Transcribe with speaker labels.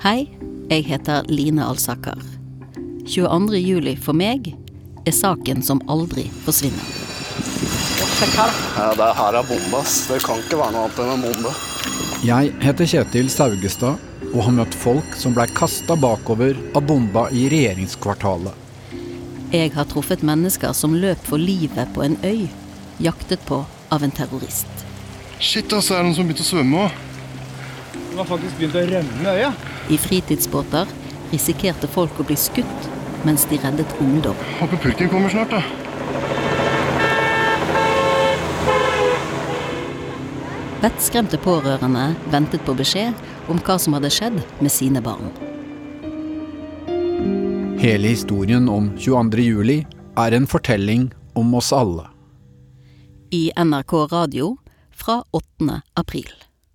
Speaker 1: Hei, jeg heter Line Alsaker. 22. juli for meg er saken som aldri forsvinner.
Speaker 2: Ja, det her er bombe, ass. Det kan ikke være noe annet enn en bombe.
Speaker 3: Jeg heter Kjetil Saugestad og har møtt folk som blei kasta bakover av bomba i regjeringskvartalet.
Speaker 1: Jeg har truffet mennesker som løp for livet på en øy, jaktet på av en terrorist.
Speaker 4: Shit, ass, det er noen som begynte å svømme òg.
Speaker 5: Den har faktisk begynt å rømme øya.
Speaker 1: I fritidsbåter risikerte folk å bli skutt mens de reddet ungdom.
Speaker 4: Håper pulken kommer snart, da.
Speaker 1: Vettskremte pårørende ventet på beskjed om hva som hadde skjedd med sine barn.
Speaker 3: Hele historien om 22. juli er en fortelling om oss alle.
Speaker 1: I NRK Radio fra 8. april.